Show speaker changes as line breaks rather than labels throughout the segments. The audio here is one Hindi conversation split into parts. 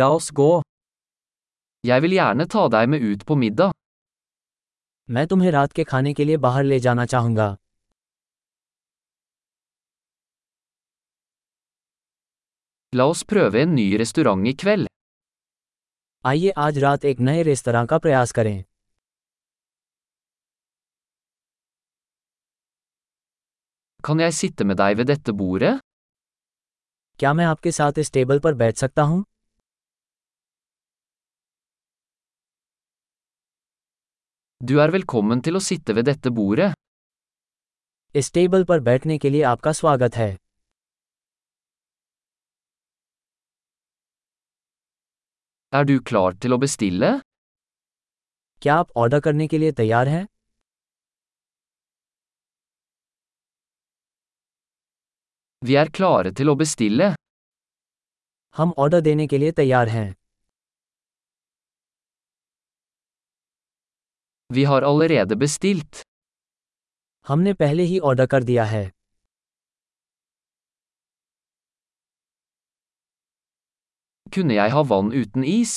La oss gå. Jeg vil gjerne ta deg med ut på middag.
मैं तुम्हें रात के खाने के लिए बाहर ले जाना चाहूंगा
La oss prøve en ny restaurant i kveld.
आइए आज रात एक नए रेस्तरा का प्रयास करें
Kan jeg sitte med deg ved dette bordet?
क्या मैं आपके साथ इस टेबल पर बैठ सकता हूँ
Du er velkommen til å sitte ved dette bordet.
इस टेबल पर बैठने के लिए आपका स्वागत है
Er du klar til å bestille?
क्या आप ऑर्डर करने के लिए तैयार हैं
Vi er klare til å bestille.
हम ऑर्डर देने के लिए तैयार हैं
Vi har allerede bestilt.
हमने पहले ही ऑर्डर कर दिया है
Kunne jeg ha vann uten is?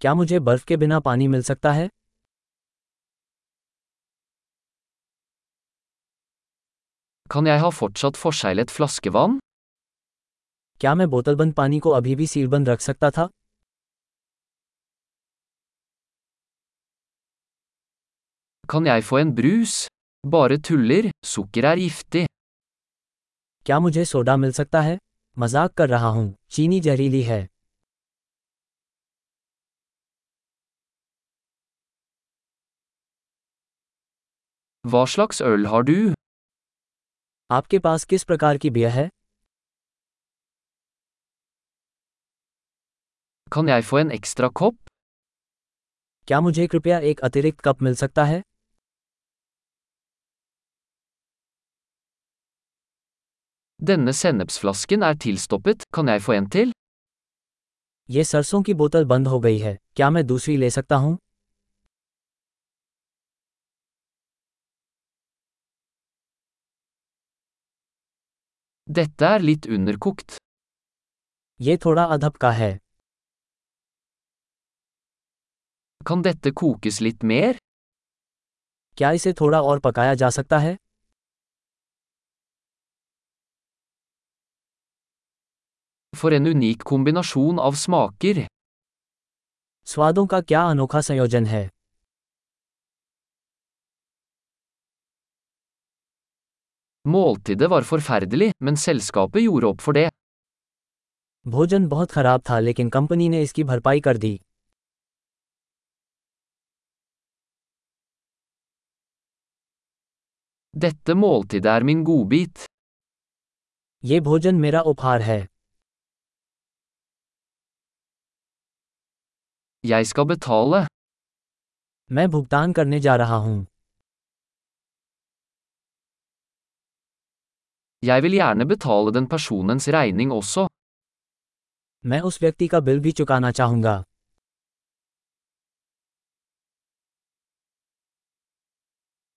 क्या मुझे बर्फ के बिना पानी मिल सकता है
Kan jeg ha fortsatt forseglet flaskevann?
क्या मैं बोतलबंद पानी को अभी भी सीलबंद रख सकता था
Kan jeg få en brus? Bare tuller, sukker er giftig.
क्या मुझे सोडा मिल सकता है मजाक कर रहा हूँ चीनी जहरीली है
Hva slags øl har du?
आपके पास किस प्रकार की बियर है
Kan jeg få en ekstra kopp?
क्या मुझे कृपया एक अतिरिक्त कप मिल सकता है
Denne sennepsflasken er tilstoppet, kan jeg få en til?
ये सरसों की बोतल बंद हो गई है क्या मैं दूसरी ले सकता हूँ
Dette er litt underkokt.
ये थोड़ा अधब का है
Kan dette kokes litt mer?
क्या इसे थोड़ा और पकाया जा सकता है
For en unik kombinasjon av smaker.
स्वादों का क्या अनोखा संयोजन है
Måltidet var forferdelig, men selskapet gjorde opp for det.
भोजन बहुत खराब था लेकिन कंपनी ने इसकी भरपाई कर दी
Dette måltidet er min godbit.
ये भोजन मेरा उपहार है
Jeg skal betale.
मैं भुगतान करने जा रहा हूँ
Jeg vil gjerne betale den personens regning også.
मैं उस व्यक्ति का बिल भी चुकाना चाहूंगा